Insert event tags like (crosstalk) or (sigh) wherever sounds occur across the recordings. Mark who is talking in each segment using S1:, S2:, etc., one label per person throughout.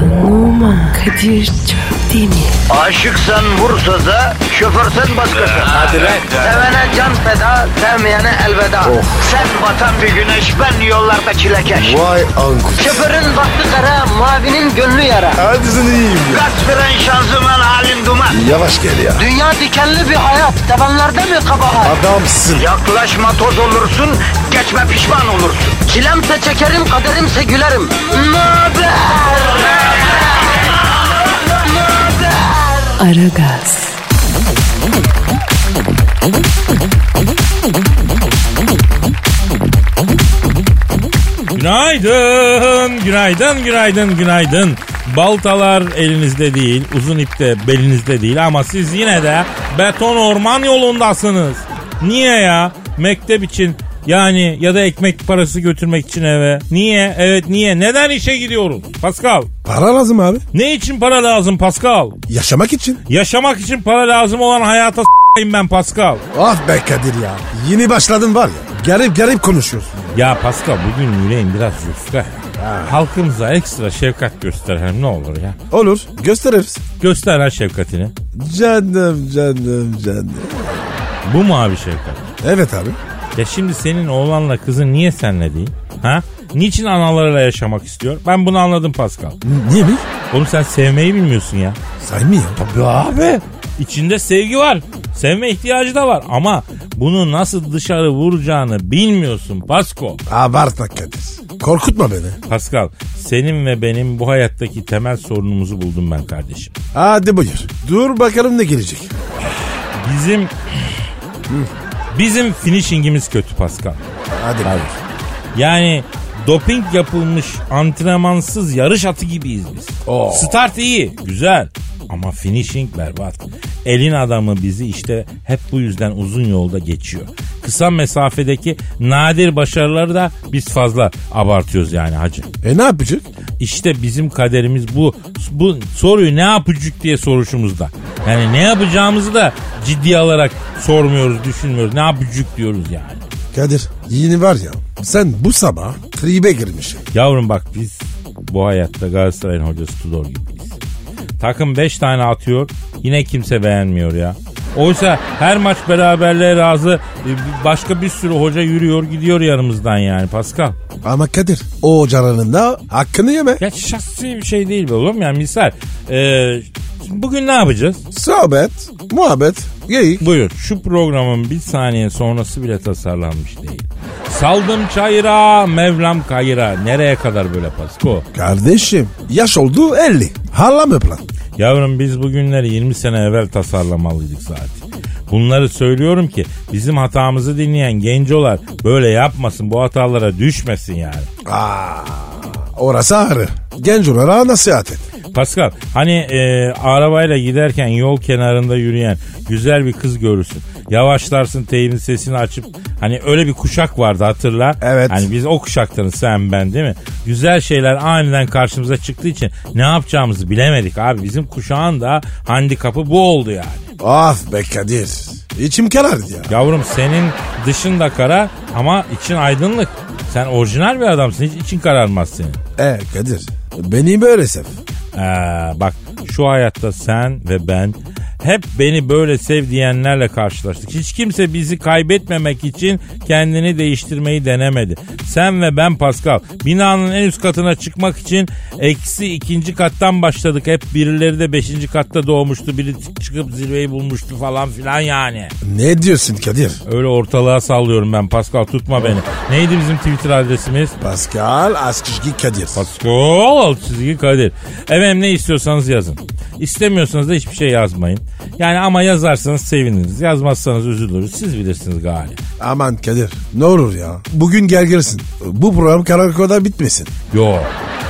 S1: Numan, Kadir çok değil mi?
S2: Aşıksan vursa da şoförsen başkasın. Hadi
S3: lan.
S2: Sevene can feda, sevmeyene elveda. Sen batan bir güneş, ben yollarda çilekeş.
S3: Vay anku.
S2: Şoförün baktı kara, mavinin gönlü yara.
S3: Hadi sen iyiyim ya.
S2: Kasperen şanzıman halin duman.
S3: Yavaş gel ya.
S2: Dünya dikenli bir hayat, sevenlerde mi kabahar?
S3: Adamsın.
S2: Yaklaşma toz olursun, geçme pişman olursun. Çilemse çekerim, kaderimse gülerim. Möber!
S1: Aragaz,
S4: Günaydın, günaydın, günaydın, günaydın. Baltalar elinizde değil, uzun ip de belinizde değil ama siz yine de beton orman yolundasınız. Niye ya? Mektep için yani ya da ekmek parası götürmek için eve. Niye? Evet niye? Neden işe gidiyoruz? Pascal.
S3: Para lazım abi.
S4: Ne için para lazım Pascal?
S3: Yaşamak için.
S4: Yaşamak için para lazım olan hayata s**ayım ben Pascal.
S3: Ah be Kadir ya. Yeni başladın var ya. Garip garip konuşuyorsun.
S4: Ya Pascal bugün yüreğim biraz yufka. ya. Halkımıza ekstra şefkat gösterelim ne olur ya.
S3: Olur. Gösteririz.
S4: Göster ha şefkatini.
S3: Canım canım canım.
S4: Bu mu abi şefkat?
S3: Evet abi.
S4: Ya şimdi senin oğlanla kızın niye senle değil? Ha? Niçin analarıyla yaşamak istiyor? Ben bunu anladım Pascal.
S3: Niye mi?
S4: Oğlum sen sevmeyi bilmiyorsun ya.
S3: Saymıyor.
S4: Tabii abi. İçinde sevgi var. Sevme ihtiyacı da var. Ama bunu nasıl dışarı vuracağını bilmiyorsun Pasko.
S3: Abartma Kadir. Korkutma beni.
S4: Pascal senin ve benim bu hayattaki temel sorunumuzu buldum ben kardeşim.
S3: Hadi buyur. Dur bakalım ne gelecek.
S4: Bizim... Bizim finishingimiz kötü Pascal.
S3: Hadi
S4: Tabii.
S3: buyur.
S4: Yani doping yapılmış antrenmansız yarış atı gibiyiz biz.
S3: Oo.
S4: Start iyi, güzel ama finishing berbat. Elin adamı bizi işte hep bu yüzden uzun yolda geçiyor. Kısa mesafedeki nadir başarıları da biz fazla abartıyoruz yani hacı.
S3: E ne yapacak?
S4: İşte bizim kaderimiz bu. Bu soruyu ne yapıcık diye soruşumuzda. Yani ne yapacağımızı da ciddi alarak sormuyoruz, düşünmüyoruz. Ne yapıcık diyoruz yani.
S3: Kadir yeni var ya sen bu sabah tribe girmişsin.
S4: Yavrum bak biz bu hayatta Galatasaray'ın hocası Tudor gibiyiz. Takım 5 tane atıyor yine kimse beğenmiyor ya. Oysa her maç beraberliğe razı e, başka bir sürü hoca yürüyor gidiyor yanımızdan yani Pascal.
S3: Ama Kadir o hocaların da hakkını yeme.
S4: Ya şahsi bir şey değil be oğlum yani misal. e, şimdi bugün ne yapacağız?
S3: Sohbet, muhabbet, geyik.
S4: Buyur şu programın bir saniye sonrası bile tasarlanmış değil. Saldım çayıra Mevlam kayıra nereye kadar böyle Pasko?
S3: Kardeşim yaş oldu 50. Hala mı plan?
S4: Yavrum biz bugünleri 20 sene evvel tasarlamalıydık zaten. Bunları söylüyorum ki bizim hatamızı dinleyen gencolar böyle yapmasın bu hatalara düşmesin yani.
S3: Aa, orası ağrı. Genç olarak nasihat et.
S4: Pascal hani e, arabayla giderken yol kenarında yürüyen güzel bir kız görürsün. Yavaşlarsın teyinin sesini açıp hani öyle bir kuşak vardı hatırla.
S3: Evet.
S4: Hani biz o kuşaktanız sen ben değil mi? Güzel şeyler aniden karşımıza çıktığı için ne yapacağımızı bilemedik abi. Bizim kuşağın da handikapı bu oldu yani.
S3: Of Ah be Kadir. İçim karardı ya.
S4: Yavrum senin dışın da kara ama için aydınlık. Sen orijinal bir adamsın hiç için kararmaz senin.
S3: E Kadir beni böyle sev.
S4: Ee, bak şu hayatta sen ve ben hep beni böyle sev diyenlerle karşılaştık. Hiç kimse bizi kaybetmemek için kendini değiştirmeyi denemedi. Sen ve ben Pascal binanın en üst katına çıkmak için eksi ikinci kattan başladık. Hep birileri de beşinci katta doğmuştu. Biri çıkıp zirveyi bulmuştu falan filan yani.
S3: Ne diyorsun Kadir?
S4: Öyle ortalığa sallıyorum ben Pascal tutma beni. Neydi bizim Twitter adresimiz?
S3: Pascal Askışki Kadir.
S4: Pascal çizgi Kadir. Efendim ne istiyorsanız yazın. İstemiyorsanız da hiçbir şey yazmayın. Yani ama yazarsanız seviniriz. Yazmazsanız üzülürüz. Siz bilirsiniz galiba.
S3: Aman Kadir ne olur ya. Bugün gel gelirsin. Bu program karakolda bitmesin.
S4: Yo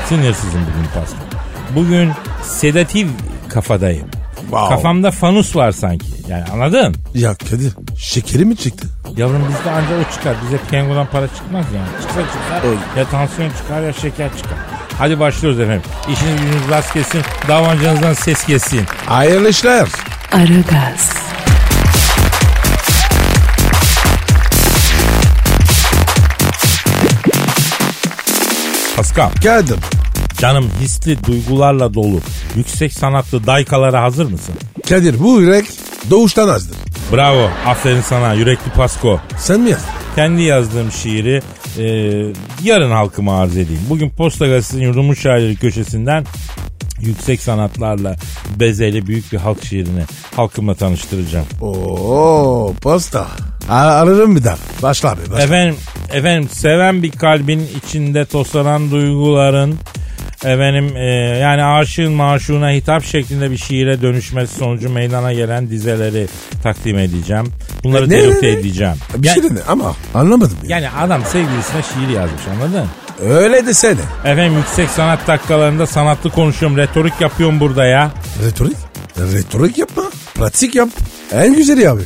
S4: sinirsizim bugün Pascal. Bugün sedatif kafadayım.
S3: Wow.
S4: Kafamda fanus var sanki. Yani anladın?
S3: Ya Kadir şekeri mi çıktı?
S4: Yavrum bizde ancak o çıkar. Bize piyangodan para çıkmaz yani. Çıksa çıkar. Ya tansiyon çıkar ya şeker çıkar. Hadi başlıyoruz efendim. İşiniz gücünüz rast kesin. Davancanızdan ses kesin.
S3: Hayırlı işler.
S1: Aragaz,
S4: Pascal.
S3: Kadir.
S4: Canım hisli duygularla dolu. Yüksek sanatlı daykalara hazır mısın?
S3: Kadir bu yürek doğuştan azdır.
S4: Bravo. Aferin sana yürekli Pasko.
S3: Sen mi yazdın?
S4: Kendi yazdığım şiiri e, yarın halkıma arz edeyim. Bugün Posta Gazetesi'nin yurdumun şairleri köşesinden yüksek sanatlarla bezeli büyük bir halk şiirini halkımla tanıştıracağım.
S3: Oo posta. A- ararım bir daha. Başla abi başla.
S4: Efendim, efendim seven bir kalbin içinde toslanan duyguların efendim e, yani aşığın maşuğuna hitap şeklinde bir şiire dönüşmesi sonucu meydana gelen dizeleri takdim edeceğim. Bunları
S3: E, Ne, ne,
S4: delikte
S3: ne?
S4: edeceğim.
S3: Bir
S4: yani,
S3: şey dedi ama anlamadım. ya.
S4: yani adam sevgilisine şiir yazmış anladın?
S3: Öyle desene.
S4: Efendim yüksek sanat dakikalarında sanatlı konuşuyorum, retorik yapıyorum burada ya.
S3: Retorik. Retorik yapma. Pratik yap. En güzeli abi.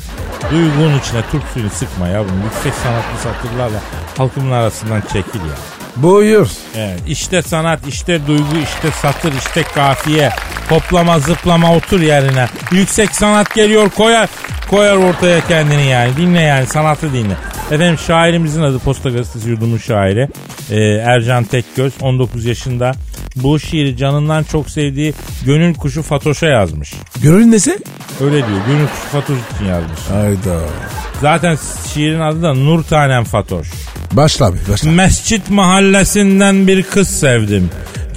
S4: Duygunun içine Türk suyunu sıkma yavrum. Yüksek sanatlı satırlarla halkımın arasından çekil ya.
S3: Buyur.
S4: Evet, işte sanat, işte duygu, işte satır, işte kafiye. Toplama, zıplama, otur yerine. Yüksek sanat geliyor koyar, koyar ortaya kendini yani. Dinle yani, sanatı dinle. Efendim şairimizin adı Posta Gazetesi Yurdumun Şairi. Ee, Ercan Tekgöz, 19 yaşında. Bu şiiri canından çok sevdiği Gönül Kuşu Fatoş'a yazmış.
S3: Gönül nesi?
S4: Öyle diyor, Gönül Kuşu Fatoş için yazmış.
S3: Hayda.
S4: Zaten şiirin adı da Nur Tanem Fatoş.
S3: Başla abi başla.
S4: Mescit mahallesinden bir kız sevdim.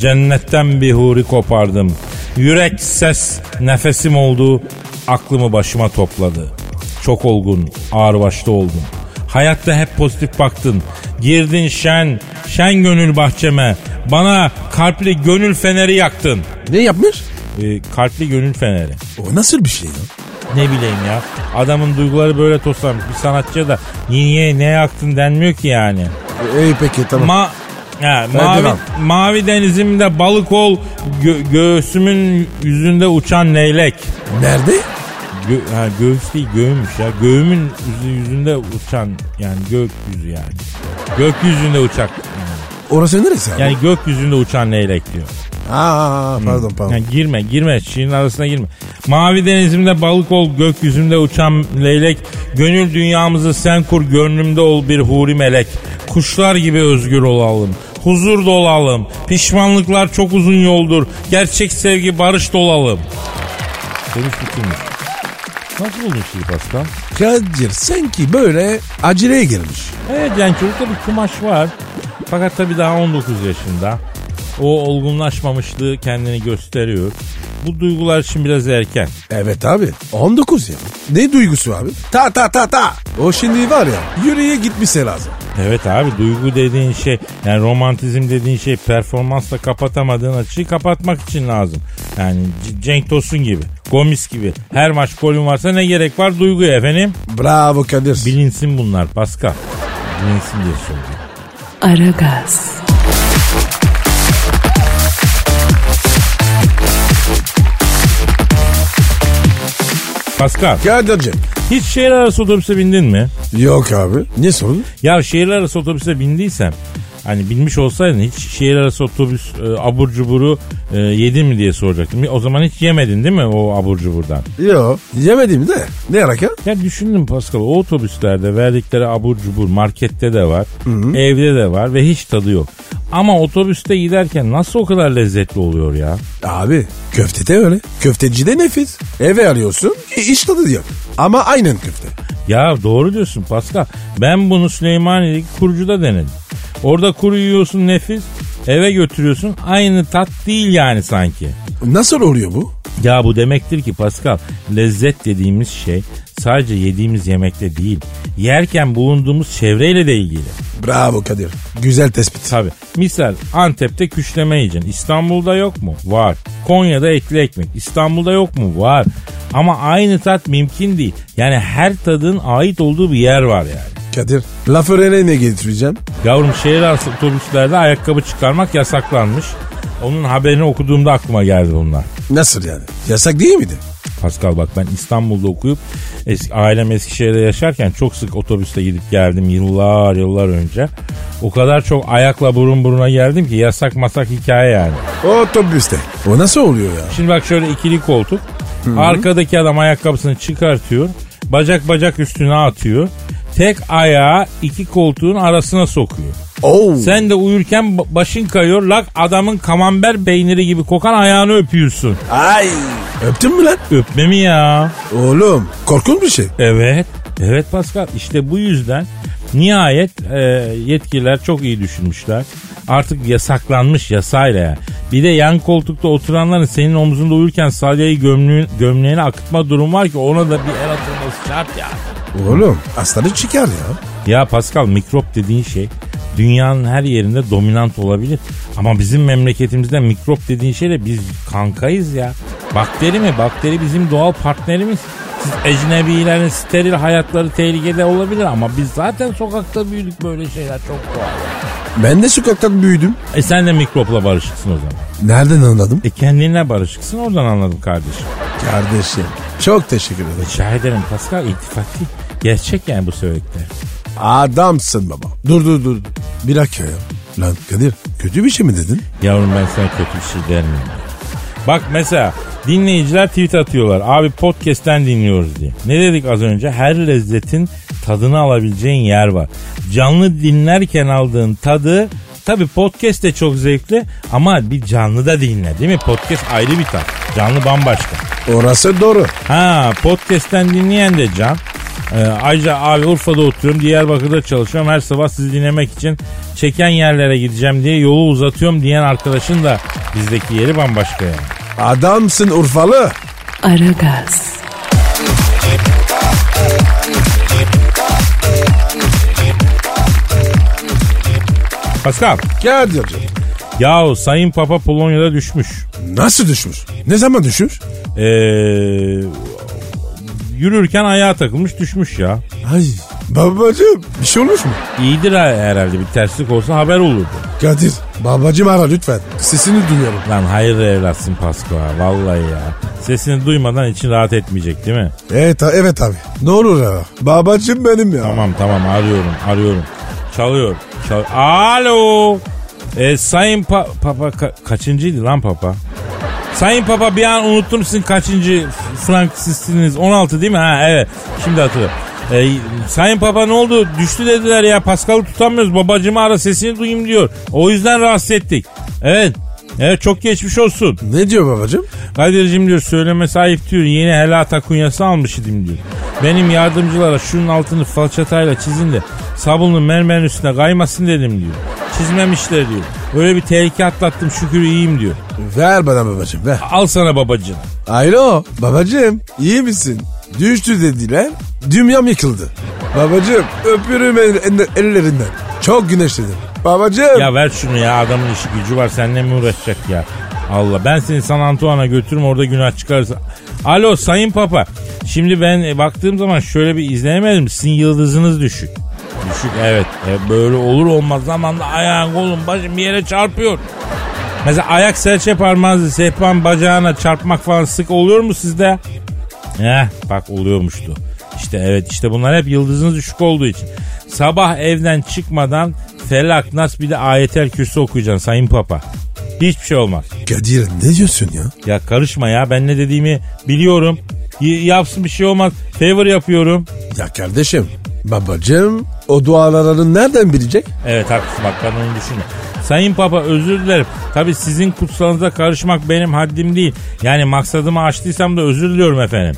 S4: Cennetten bir huri kopardım. Yürek ses nefesim oldu. Aklımı başıma topladı. Çok olgun, ağırbaşlı oldum. Hayatta hep pozitif baktın. Girdin şen, şen gönül bahçeme. Bana kalpli gönül feneri yaktın.
S3: Ne yapmış?
S4: Ee, kalpli gönül feneri.
S3: O nasıl bir şey ya?
S4: Ne bileyim ya. Adamın duyguları böyle toslanmış. Bir sanatçıya da niye ne yaktın denmiyor ki yani.
S3: İyi peki tamam.
S4: Ma Ha, mavi,
S3: devam.
S4: mavi denizimde balık ol, gö- göğsümün yüzünde uçan leylek.
S3: Nerede?
S4: Gö- ha, göğüs değil göğümmüş ya. Göğümün yüzü- yüzünde uçan yani gökyüzü yani. Gökyüzünde uçak.
S3: Orası neresi abi?
S4: Yani gökyüzünde uçan leylek diyor.
S3: Aa, pardon pardon.
S4: Hmm. Yani girme girme şiirin arasına girme. Mavi denizimde balık ol gökyüzümde uçan leylek. Gönül dünyamızı sen kur gönlümde ol bir huri melek. Kuşlar gibi özgür olalım. Huzur dolalım. Pişmanlıklar çok uzun yoldur. Gerçek sevgi barış dolalım. Konuş bitirmiş. Nasıl buldun şiir Pascal?
S3: Kadir sanki böyle aceleye girmiş.
S4: Evet yani çocukta bir kumaş var. Fakat tabii daha 19 yaşında. O olgunlaşmamışlığı kendini gösteriyor. Bu duygular için biraz erken.
S3: Evet abi 19 ya. Ne duygusu abi? Ta ta ta ta. O şimdi var ya yüreğe gitmişse lazım.
S4: Evet abi duygu dediğin şey yani romantizm dediğin şey performansla kapatamadığın açığı kapatmak için lazım. Yani C- Cenk Tosun gibi, Gomis gibi her maç golün varsa ne gerek var duyguya efendim?
S3: Bravo Kadir.
S4: Bilinsin bunlar Pascal. Bilinsin diye söylüyorum.
S1: Aragaz,
S4: Pascal
S3: Kadir'cim.
S4: hiç şehir arası otobüse bindin mi?
S3: Yok abi. Ne sorun?
S4: Ya şehir arası otobüse bindiysem hani binmiş olsaydın hiç şehir arası otobüs e, abur cuburu e, yedin mi diye soracaktım. O zaman hiç yemedin değil mi o abur cuburdan?
S3: Yok. Yemedim de. Ne alaka?
S4: Ya düşündüm Pascal o otobüslerde verdikleri abur cubur markette de var, evde de var ve hiç tadı yok. Ama otobüste giderken nasıl o kadar lezzetli oluyor ya?
S3: Abi köfte de öyle. Köfteci de nefis. Eve alıyorsun. i- iş tadı yok. Ama aynen köfte.
S4: Ya doğru diyorsun Pascal. Ben bunu Süleymaniye'deki kurucuda denedim. Orada kuru yiyorsun nefis, eve götürüyorsun aynı tat değil yani sanki.
S3: Nasıl oluyor bu?
S4: Ya bu demektir ki Pascal lezzet dediğimiz şey sadece yediğimiz yemekte değil. Yerken bulunduğumuz çevreyle de ilgili.
S3: Bravo Kadir. Güzel tespit.
S4: Tabii. Misal Antep'te küşleme yiyeceksin. İstanbul'da yok mu? Var. Konya'da etli ekmek. İstanbul'da yok mu? Var. Ama aynı tat mümkün değil. Yani her tadın ait olduğu bir yer var yani.
S3: Kadir. Lafı ne getireceğim?
S4: Yavrum şehir arası otobüslerde ayakkabı çıkarmak yasaklanmış. Onun haberini okuduğumda aklıma geldi bunlar.
S3: Nasıl yani? Yasak değil miydi?
S4: Pascal bak ben İstanbul'da okuyup eski, ailem Eskişehir'de yaşarken çok sık otobüste gidip geldim yıllar yıllar önce. O kadar çok ayakla burun buruna geldim ki yasak masak hikaye yani.
S3: Otobüste. O nasıl oluyor ya?
S4: Şimdi bak şöyle ikili koltuk. Arkadaki adam ayakkabısını çıkartıyor. Bacak bacak üstüne atıyor. Tek ayağı iki koltuğun arasına sokuyor.
S3: Oo.
S4: Sen de uyurken ba- başın kayıyor lak adamın kamember peyniri gibi kokan ayağını öpüyorsun.
S3: Ay. Öptün mü lan?
S4: Öpme mi ya?
S3: Oğlum korkunç bir şey.
S4: Evet. Evet Pascal işte bu yüzden nihayet e, yetkililer çok iyi düşünmüşler. Artık yasaklanmış yasayla yani. Bir de yan koltukta oturanların senin omzunda uyurken salyayı gömlüğün, gömleğine akıtma durum var ki ona da bir el atılması şart ya.
S3: Oğlum aslanı çıkar ya.
S4: Ya Pascal mikrop dediğin şey dünyanın her yerinde dominant olabilir. Ama bizim memleketimizde mikrop dediğin şeyle biz kankayız ya. Bakteri mi? Bakteri bizim doğal partnerimiz. Siz ecnebilerin steril hayatları tehlikede olabilir ama biz zaten sokakta büyüdük böyle şeyler çok doğal.
S3: Ben de sokaktan büyüdüm.
S4: E sen de mikropla barışıksın o zaman.
S3: Nereden anladım?
S4: E kendinle barışıksın oradan anladım kardeşim. E
S3: Kardeşim çok teşekkür ederim.
S4: Rica ederim Pascal iltifat değil. Gerçek yani bu söyledikler.
S3: Adamsın baba. Dur dur dur. Bir dakika ya. Lan Kadir kötü bir şey mi dedin?
S4: Yavrum ben sana kötü bir şey der miyim? Bak mesela dinleyiciler tweet atıyorlar. Abi podcast'ten dinliyoruz diye. Ne dedik az önce? Her lezzetin tadını alabileceğin yer var. Canlı dinlerken aldığın tadı tabi podcast de çok zevkli ama bir canlı da dinle değil mi? Podcast ayrı bir tat. Canlı bambaşka.
S3: Orası doğru.
S4: Ha podcast'ten dinleyen de Can. Ee, ayrıca abi Urfa'da oturuyorum, Diyarbakır'da çalışıyorum. Her sabah sizi dinlemek için çeken yerlere gideceğim diye yolu uzatıyorum diyen arkadaşın da bizdeki yeri bambaşka yani.
S3: Adamsın Urfalı.
S1: Aragaz,
S4: Pascal,
S3: Kadir.
S4: yahu Sayın Papa Polonya'da düşmüş.
S3: Nasıl düşmüş? Ne zaman düşmüş?
S4: Ee, yürürken ayağa takılmış düşmüş ya.
S3: Ay babacım bir şey olmuş mu?
S4: İyidir ha- herhalde bir terslik olsa haber olurdu.
S3: Kadir babacım ara lütfen. Sesini duyuyorum.
S4: Lan hayır evlatsın Pascal vallahi ya. Sesini duymadan için rahat etmeyecek değil mi?
S3: Evet, a- evet abi. Ne olur ara. Babacım benim ya.
S4: Tamam tamam arıyorum arıyorum. Çalıyor. Çal Alo. E, sayın Pa- Papa ka- kaçıncıydı lan Papa? Sayın Papa bir an unuttum sizin kaçıncı Frankisisiniz 16 değil mi? Ha evet şimdi hatırladım. E, sayın Papa ne oldu? Düştü dediler ya Pascal'ı tutamıyoruz babacımı ara sesini duyayım diyor. O yüzden rahatsız ettik. Evet. Evet çok geçmiş olsun.
S3: Ne diyor babacım?
S4: Kadir'cim diyor söyleme ayıp diyor yeni helata kunyası almış idim diyor. Benim yardımcılara şunun altını falçatayla çizin de sabunlu mermerin üstüne kaymasın dedim diyor. Çizmemişler diyor. Böyle bir tehlike atlattım şükür iyiyim diyor.
S3: Ver bana babacım ver.
S4: Al sana babacığım.
S3: Alo babacım iyi misin? Düştü dediler. Dünyam yıkıldı. Babacım öpürüm el- el- ellerinden. Çok güneşledim. Babacım.
S4: Ya ver şunu ya adamın işi gücü var seninle mi uğraşacak ya? Allah ben seni San Antuan'a götürürüm orada günah çıkarsa. Alo Sayın Papa. Şimdi ben e, baktığım zaman şöyle bir izleyemedim. Sizin yıldızınız düşük. Düşük evet. E, böyle olur olmaz zamanda ayağın kolun başın bir yere çarpıyor. Mesela ayak serçe parmağınızı sehpan bacağına çarpmak falan sık oluyor mu sizde? Heh bak oluyormuştu. İşte evet işte bunlar hep yıldızınız düşük olduğu için. Sabah evden çıkmadan Felak Nas bir de ayetel kürsü okuyacaksın Sayın Papa. Hiçbir şey olmaz.
S3: Kadir ne diyorsun ya?
S4: Ya karışma ya ben ne dediğimi biliyorum. Y- yapsın bir şey olmaz. Favor yapıyorum.
S3: Ya kardeşim babacım o dualarını nereden bilecek?
S4: Evet haklısın bak ben onu düşünüyorum. Sayın Papa özür dilerim. Tabi sizin kutsalınıza karışmak benim haddim değil. Yani maksadımı aştıysam da özür diliyorum efendim.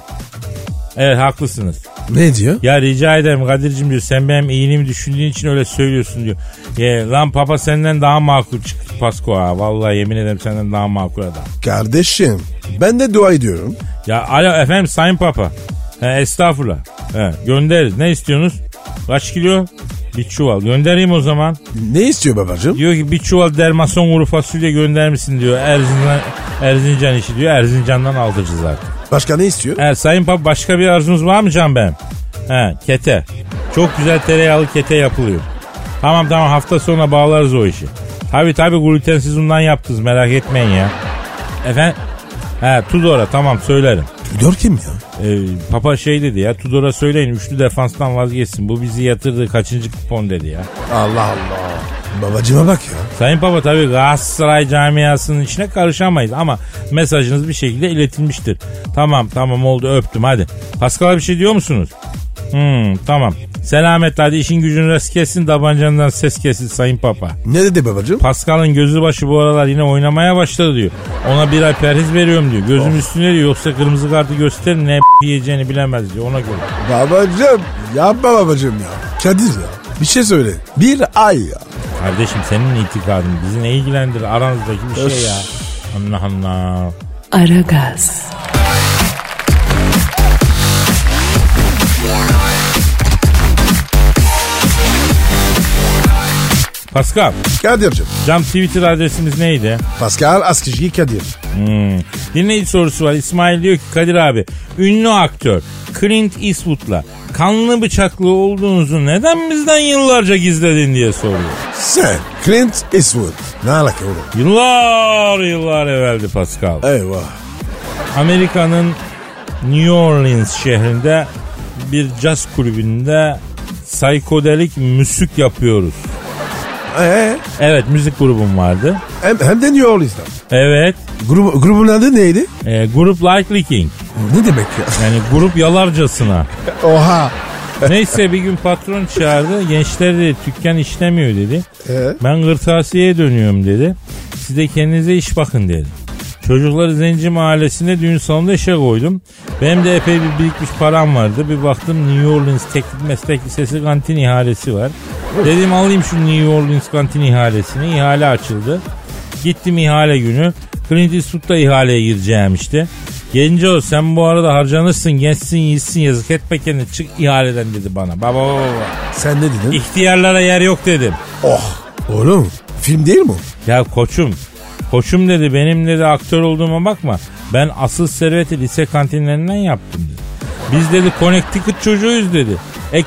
S4: Evet haklısınız.
S3: Ne diyor?
S4: Ya rica ederim Kadir'cim diyor sen benim iyiliğimi düşündüğün için öyle söylüyorsun diyor. E, lan papa senden daha makul çıktı Pasko ha. Vallahi yemin ederim senden daha makul adam.
S3: Kardeşim ben de dua ediyorum.
S4: Ya alo efendim sayın papa. He, estağfurullah. He, göndeririz. Ne istiyorsunuz? Kaç kilo? Bir çuval. Göndereyim o zaman.
S3: Ne istiyor babacım?
S4: Diyor ki bir çuval dermason kuru fasulye göndermişsin diyor. Erzincan, Erzincan işi diyor. Erzincan'dan aldıracağız artık.
S3: Başka ne istiyor?
S4: He, sayın Pap başka bir arzunuz var mı Can Bey'im? He, kete. Çok güzel tereyağlı kete yapılıyor. Tamam tamam hafta sonuna bağlarız o işi. Tabi tabi glutensiz undan yaptınız merak etmeyin ya. Efendim? He Tudor'a tamam söylerim.
S3: Tudor kim ya?
S4: Ee, papa şey dedi ya Tudor'a söyleyin üçlü defanstan vazgeçsin. Bu bizi yatırdı kaçıncı kupon dedi ya.
S3: Allah Allah. Babacıma bak ya.
S4: Sayın Papa tabii Galatasaray camiasının içine karışamayız ama mesajınız bir şekilde iletilmiştir. Tamam tamam oldu öptüm hadi. Paskal'a bir şey diyor musunuz? Hmm tamam. Selamet hadi işin gücün rast kesin tabancandan ses kesin sayın papa.
S3: Ne dedi babacığım?
S4: Pascal'ın gözü başı bu aralar yine oynamaya başladı diyor. Ona bir ay perhiz veriyorum diyor. Gözüm üstüne diyor yoksa kırmızı kartı gösterin ne (laughs) yiyeceğini bilemez diyor ona göre.
S3: babacığım yapma babacığım ya. Kadir ya bir şey söyle. Bir ay ya.
S4: Kardeşim senin itikadın bizi ne ilgilendirir aranızdaki bir şey ya. Allah Allah.
S1: Aragaz,
S4: Pascal,
S3: Kadir'cim.
S4: cam Twitter adresimiz neydi?
S3: Pascal Askışki Kadir.
S4: Hmm. Dinleyici sorusu var. İsmail diyor ki Kadir abi ünlü aktör Clint Eastwood'la kanlı bıçaklı olduğunuzu neden bizden yıllarca gizledin diye soruyor.
S3: Sen Clint Eastwood. Ne alaka oğlum?
S4: Yıllar yıllar evveldi Pascal.
S3: Eyvah.
S4: Amerika'nın New Orleans şehrinde bir caz kulübünde psikodelik müzik yapıyoruz.
S3: Ee,
S4: Evet müzik grubum vardı.
S3: hem, hem de New Orleans'tan.
S4: Evet
S3: Grubu, grubun adı neydi?
S4: e, grup Like Licking
S3: Ne demek ya?
S4: yani grup yalarcasına.
S3: (laughs) Oha.
S4: Neyse bir gün patron çağırdı. Gençler dedi dükkan işlemiyor dedi.
S3: Ee?
S4: Ben kırtasiyeye dönüyorum dedi. Siz de kendinize iş bakın dedi. Çocukları Zenci Mahallesi'nde düğün salonunda işe koydum. Benim de epey bir birikmiş param vardı. Bir baktım New Orleans Teknik Meslek Lisesi kantin ihalesi var. Dedim alayım şu New Orleans kantin ihalesini. İhale açıldı. Gittim ihale günü. Clint Eastwood'da ihaleye gireceğim işte. Gelince o sen bu arada harcanırsın, gençsin, iyisin, yazık etme kendini çık ihaleden dedi bana. Baba baba baba.
S3: Sen ne dedin?
S4: İhtiyarlara yer yok dedim.
S3: Oh. Oğlum film değil mi? o?
S4: Ya koçum, koçum dedi benim dedi aktör olduğuma bakma. Ben asıl serveti lise kantinlerinden yaptım dedi. Biz dedi Connecticut çocuğuyuz dedi.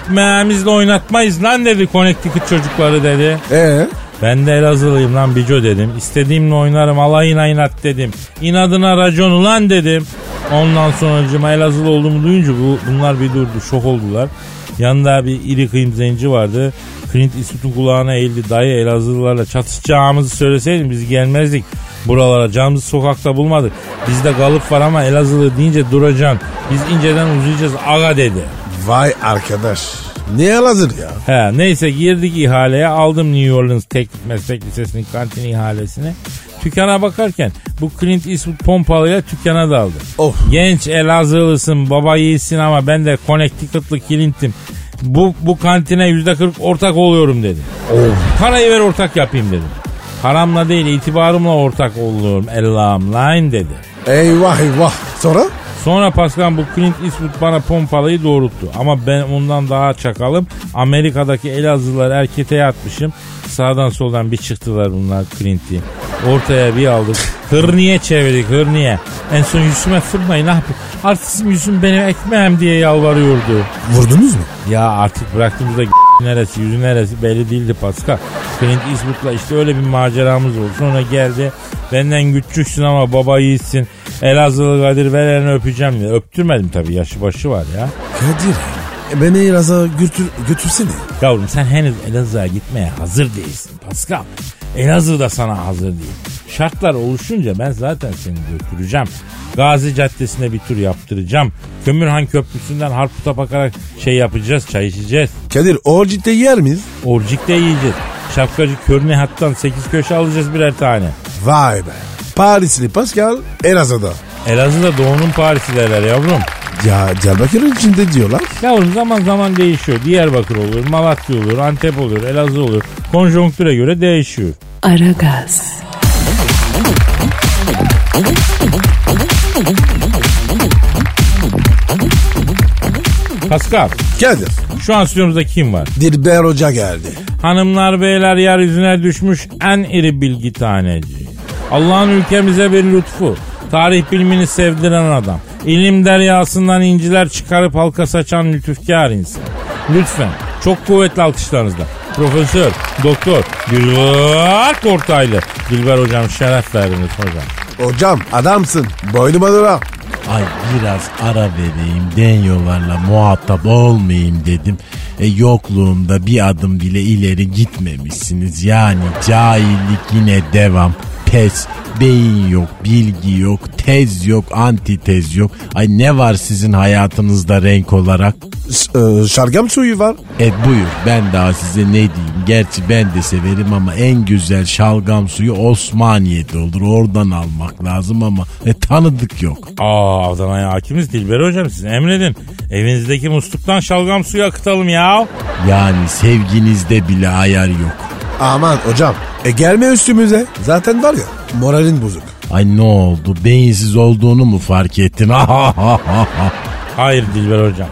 S4: Ekmeğimizle oynatmayız lan dedi Connecticut çocukları dedi.
S3: Ee?
S4: Ben de Elazığlıyım lan Bico dedim. İstediğimle oynarım alayına inat dedim. İnadına racon ulan dedim. Ondan sonracıma Elazığlı olduğumu duyunca bu, bunlar bir durdu şok oldular. Yanında bir iri kıyım zenci vardı. Clint Eastwood'un kulağına eğildi. Dayı Elazığlılarla çatışacağımızı söyleseydin biz gelmezdik buralara. Camımızı sokakta bulmadık. Bizde kalıp var ama Elazığlı deyince duracaksın. Biz inceden uzayacağız aga dedi.
S3: Vay arkadaş. Ne hazır ya?
S4: He, neyse girdik ihaleye aldım New Orleans Teknik Meslek Lisesi'nin kantin ihalesine. Tükana bakarken bu Clint Eastwood pompalıyla tükana daldı.
S3: Of.
S4: Genç Elazığlısın baba yiğitsin ama ben de Connecticut'lı Clint'im. Bu, bu kantine yüzde kırk ortak oluyorum dedi. Parayı ver ortak yapayım dedim. Paramla değil itibarımla ortak oluyorum Allah'ım line dedi.
S3: Eyvah eyvah. Sonra?
S4: Sonra Pascal bu Clint Eastwood bana pompalıyı doğrulttu. Ama ben ondan daha çakalım. Amerika'daki Elazığlılar erkete yatmışım. Sağdan soldan bir çıktılar bunlar Clint'i. Ortaya bir aldık. Hırniye çevirdik hırniye. En son yüzüme fırlayın ah. Artısım yüzüm benim ekmeğim diye yalvarıyordu.
S3: Vurdunuz mu?
S4: Ya artık bıraktığımızda (laughs) neresi yüzü neresi belli değildi Pascal. Clint Eastwood'la işte öyle bir maceramız oldu. Sonra geldi benden küçüksün ama baba yiğitsin. Elazığlı Kadir ver elini öpeceğim dedi. Öptürmedim tabii yaşı başı var ya.
S3: Kadir. e, Beni Elazığ'a götür, götürsene.
S4: Yavrum sen henüz Elazığ'a gitmeye hazır değilsin Pascal. Elazığ da sana hazır değil. Şartlar oluşunca ben zaten seni götüreceğim. Gazi Caddesi'ne bir tur yaptıracağım. Kömürhan Köprüsü'nden Harput'a bakarak şey yapacağız, çay içeceğiz.
S3: Kadir o ciddi yer miyiz?
S4: Orcik de yiyeceğiz. Şapkacı Körne hattan 8 köşe alacağız birer tane.
S3: Vay be. Parisli Pascal Elazığ'da.
S4: Elazığ'da doğunun Paris'i derler yavrum.
S3: Ya Diyarbakır'ın içinde diyorlar.
S4: Yavrum zaman zaman değişiyor. Diyarbakır olur, Malatya olur, Antep olur, Elazığ olur. Konjonktüre göre değişiyor.
S1: Aragaz,
S4: Pascal,
S3: Kadir.
S4: şu an stüdyomuzda kim var?
S3: Dilber Hoca geldi.
S4: Hanımlar beyler yeryüzüne düşmüş en iri bilgi taneci. Allah'ın ülkemize bir lütfu. Tarih bilimini sevdiren adam. İlim deryasından inciler çıkarıp halka saçan lütufkar insan. Lütfen çok kuvvetli alkışlarınızla. Profesör, doktor, Dilber Kortaylı. Dilber hocam şeref verdiniz hocam.
S3: Hocam adamsın. Boynuma dura.
S5: Ay biraz ara vereyim denyolarla muhatap olmayayım dedim. E yokluğumda bir adım bile ileri gitmemişsiniz. Yani cahillik yine devam. P pes, beyin yok, bilgi yok, tez yok, antitez yok. Ay ne var sizin hayatınızda renk olarak?
S3: S- e, şalgam suyu var.
S5: E buyur ben daha size ne diyeyim. Gerçi ben de severim ama en güzel şalgam suyu Osmaniye'de olur. Oradan almak lazım ama e, tanıdık yok.
S4: Aa Adana'ya hakimiz Dilber hocam siz emredin. Evinizdeki musluktan şalgam suyu akıtalım ya.
S5: Yani sevginizde bile ayar yok.
S3: Aman hocam. E gelme üstümüze. Zaten var ya moralin bozuk.
S5: Ay ne oldu beyinsiz olduğunu mu fark ettin? (laughs)
S4: Hayır Dilber hocam.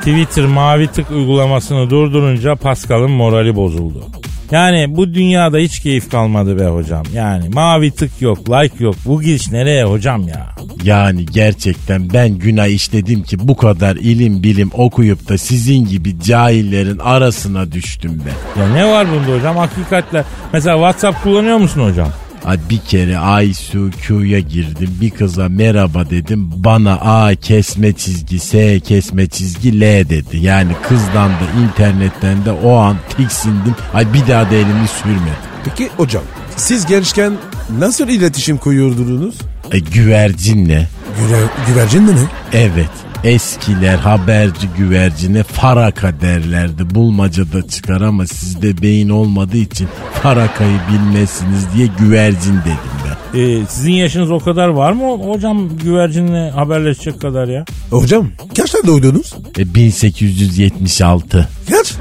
S4: Twitter mavi tık uygulamasını durdurunca Pascal'ın morali bozuldu. Yani bu dünyada hiç keyif kalmadı be hocam. Yani mavi tık yok, like yok. Bu giriş nereye hocam ya?
S5: Yani gerçekten ben günah işledim ki bu kadar ilim bilim okuyup da sizin gibi cahillerin arasına düştüm ben.
S4: Ya ne var bunda hocam? Hakikatle. Mesela WhatsApp kullanıyor musun hocam?
S5: Ay bir kere ICQ'ya girdim bir kıza merhaba dedim bana A kesme çizgi S kesme çizgi L dedi. Yani kızdan da internetten de o an tiksindim. Ay bir daha da elimi sürmedim.
S3: Peki hocam siz gençken nasıl iletişim koyuyordunuz?
S5: E, güvercinle
S3: Güve, güvercin de mi?
S5: Evet. Eskiler haberci güvercine faraka derlerdi. Bulmacada çıkar ama sizde beyin olmadığı için farakayı bilmezsiniz diye güvercin dedim ben.
S4: Ee, sizin yaşınız o kadar var mı hocam güvercinle haberleşecek kadar ya?
S3: Hocam kaçta doğdunuz?
S5: E, 1876.
S3: Kaç?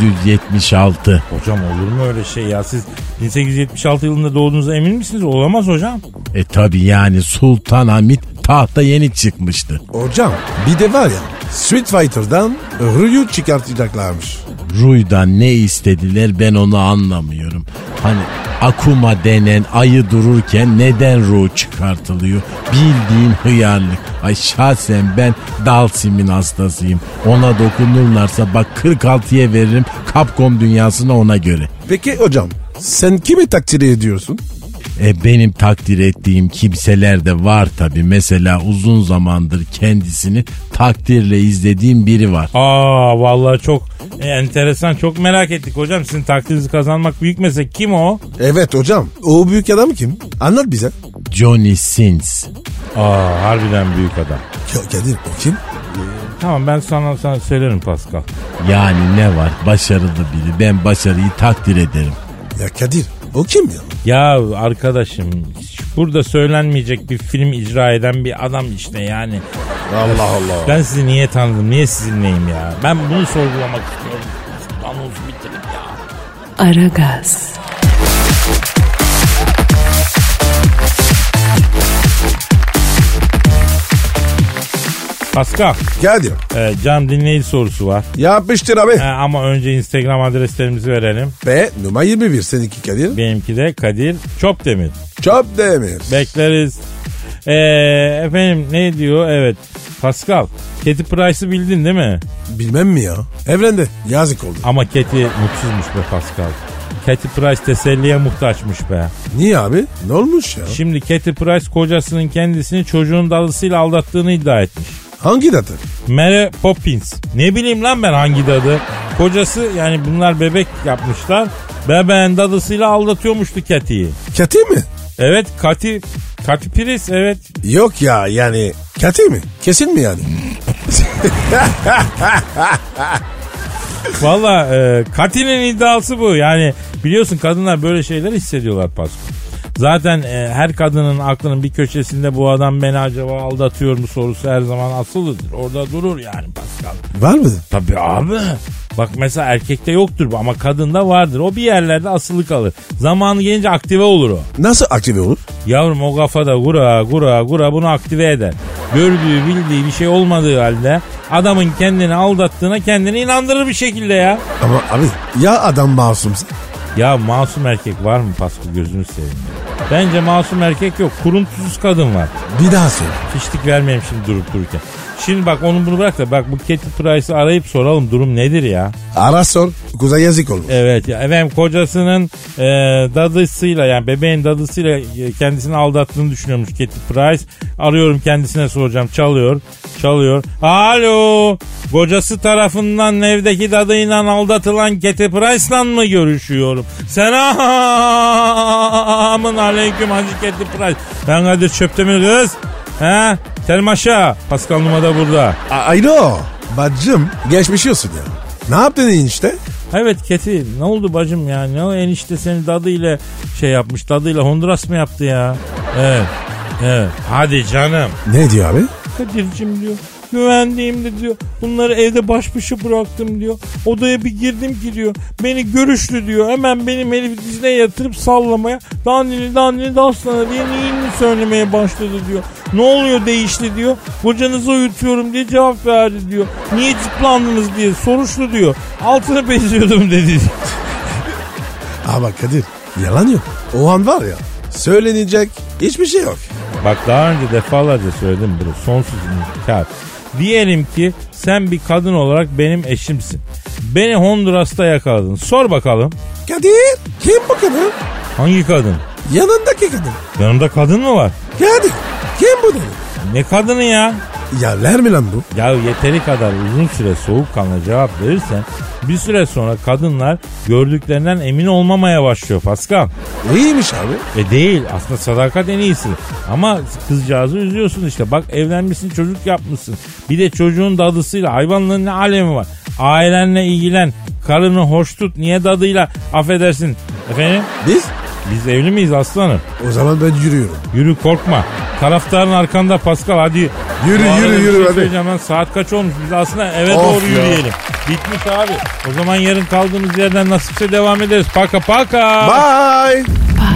S5: 1876.
S4: Hocam olur mu öyle şey ya? Siz 1876 yılında doğduğunuza emin misiniz? Olamaz hocam.
S5: E tabi yani Sultan Hamit tahta yeni çıkmıştı.
S3: Hocam bir de var ya Street Fighter'dan Ryu çıkartacaklarmış.
S5: Ruy'dan ne istediler ben onu anlamıyorum. Hani Akuma denen ayı dururken neden Ruy çıkartılıyor? Bildiğin hıyarlık. Ay şahsen ben Dalsim'in hastasıyım. Ona dokunurlarsa bak 46'ya veririm Capcom dünyasına ona göre.
S3: Peki hocam sen kimi takdir ediyorsun?
S5: E, benim takdir ettiğim kimseler de var tabi. Mesela uzun zamandır kendisini takdirle izlediğim biri var.
S4: Aa vallahi çok e, enteresan çok merak ettik hocam. Sizin takdirinizi kazanmak büyük meslek. Kim o?
S3: Evet hocam o büyük adam kim? Anlat bize.
S5: Johnny Sins.
S4: Aa harbiden büyük adam.
S3: Ya Kadir o kim?
S4: Tamam ben sana, sana söylerim Pascal.
S5: Yani ne var başarılı biri ben başarıyı takdir ederim.
S3: Ya Kadir o kim ya?
S4: Ya arkadaşım burada söylenmeyecek bir film icra eden bir adam işte yani.
S3: Allah Allah.
S4: Ben sizi niye tanıdım? Niye sizinleyim ya? Ben bunu sorgulamak istiyorum. Anons bitirin ya.
S1: Aragaz,
S4: Pascal,
S3: Kadir
S4: e, Can dinleyici sorusu (laughs) var.
S3: yapıştır abi.
S4: E, ama önce Instagram adreslerimizi verelim.
S3: Ve numara 21 seninki Kadir.
S4: Benimki de Kadir Çopdemir.
S3: Çöp demir.
S4: Bekleriz. E, efendim ne diyor? Evet. Pascal, Katy Price'ı bildin değil mi?
S3: Bilmem mi ya? Evrende yazık oldu.
S4: Ama Katy mutsuzmuş be Pascal. Katy Price teselliye muhtaçmış be.
S3: Niye abi? Ne olmuş ya?
S4: Şimdi Katy Price kocasının kendisini çocuğun dalısıyla aldattığını iddia etmiş.
S3: Hangi datı?
S4: Mary Poppins. Ne bileyim lan ben hangi dadı? Kocası yani bunlar bebek yapmışlar. Bebeğin dadısıyla aldatıyormuştu Katy'yi.
S3: Kati mi?
S4: Evet Katy, Katy Price evet.
S3: Yok ya yani Kati mi? Kesin mi yani?
S4: Valla e, Katy'nin iddiası bu. Yani biliyorsun kadınlar böyle şeyler hissediyorlar Pasko. Zaten e, her kadının aklının bir köşesinde bu adam beni acaba aldatıyor mu sorusu her zaman asılıdır. Orada durur yani Pascal.
S3: Var mı?
S4: Tabii abi. Bak mesela erkekte yoktur bu ama kadında vardır. O bir yerlerde asılı kalır. Zamanı gelince aktive olur o.
S3: Nasıl aktive olur?
S4: Yavrum o kafada gura gura gura bunu aktive eder. Gördüğü bildiği bir şey olmadığı halde adamın kendini aldattığına kendini inandırır bir şekilde ya.
S3: Ama abi ya adam masumsa?
S4: Ya masum erkek var mı Pasko gözünü seveyim. ya. Bence masum erkek yok. Kuruntusuz kadın var.
S3: Bir daha söyle.
S4: Fişlik vermeyeyim şimdi durup dururken. Şimdi bak onu bunu bırak da bak bu Katy Price'ı arayıp soralım durum nedir ya?
S3: Ara sor. Kuza yazık olur.
S4: Evet ya efendim kocasının e, dadısıyla yani bebeğin dadısıyla e, kendisini aldattığını düşünüyormuş Katy Price. Arıyorum kendisine soracağım çalıyor çalıyor. Alo kocası tarafından evdeki dadıyla aldatılan Katy Price'la mı görüşüyorum? Selamın aleyküm Hacı Katy Price. Ben Kadir Çöptemir kız. He? Selim aşağı. Pascal Numa da burada.
S3: A- Alo. Bacım geçmiş olsun ya. Ne yaptın enişte?
S4: Evet Keti ne oldu bacım ya? Ne o enişte seni dadı ile şey yapmış. Dadı ile Honduras mı yaptı ya? Evet. Evet. Hadi canım.
S3: Ne diyor abi?
S4: Kadir'cim diyor. Güvendiğimde diyor. Bunları evde baş başa bıraktım diyor. Odaya bir girdim ki diyor. Beni görüşlü diyor. Hemen benim elimi dizine yatırıp sallamaya. Dandini dandini daslana diye neyini söylemeye başladı diyor. Ne oluyor değişti diyor. Kocanızı uyutuyorum diye cevap verdi diyor. Niye cıplandınız diye soruşlu diyor. Altını (laughs) beziyordum dedi.
S3: Ama Kadir yalan yok. O an var ya söylenecek hiçbir şey yok.
S4: Bak daha önce defalarca söyledim bunu. Sonsuz inkar. Diyelim ki sen bir kadın olarak benim eşimsin. Beni Honduras'ta yakaladın. Sor bakalım.
S3: Kadir kim bu kadın?
S4: Hangi kadın?
S3: Yanındaki kadın.
S4: Yanımda kadın mı var?
S3: Kadir kim bu dedi?
S4: Ne kadını ya?
S3: Yerler mi lan bu?
S4: Ya yeteri kadar uzun süre soğukkanlı cevap verirsen bir süre sonra kadınlar gördüklerinden emin olmamaya başlıyor Pascal.
S3: İyiymiş abi.
S4: E değil aslında sadakat en iyisi. Ama kızcağızı üzüyorsun işte. Bak evlenmişsin çocuk yapmışsın. Bir de çocuğun dadısıyla hayvanların ne alemi var. Ailenle ilgilen. Karını hoş tut. Niye dadıyla affedersin? Efendim
S3: Biz
S4: biz evli miyiz aslanım?
S3: o zaman ben yürüyorum.
S4: Yürü korkma. Taraftarın arkanda Pascal hadi.
S3: Yürü,
S4: Bu arada
S3: yürü,
S4: bir
S3: yürü,
S4: şey
S3: hadi.
S4: söyleyeceğim lan saat kaç olmuş biz aslında eve
S3: Of
S4: doğru
S3: ya.
S4: yürüyelim. Bitmiş abi. O zaman yarın kaldığımız yerden nasipse devam ederiz. Paka paka.
S3: Bye.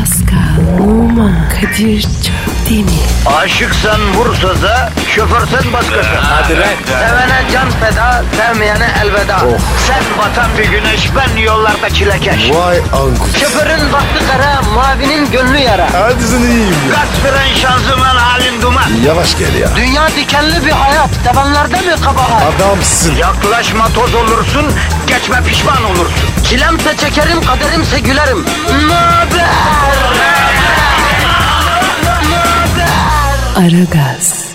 S1: Pascal, Oman, Kadir çok değil mi?
S2: Aşıksan vursa da, şoförsen başkasın. Hadi lan. Oh. Sevene can feda, sevmeyene elveda. Sen batan bir güneş, ben yollarda çilekeş.
S3: Vay anku.
S2: Şoförün baktı kara, mavinin gönlü yara.
S3: Hadi sen iyiyim ya.
S2: Kasperen şanzıman halin duman.
S3: Yavaş gel ya.
S2: Dünya dikenli bir hayat, sevenlerde mi kabahar?
S3: Adamsın.
S2: Yaklaşma toz olursun, geçme pişman olursun. Çilemse çekerim, kaderimse gülerim. Möber!
S1: Aragaz.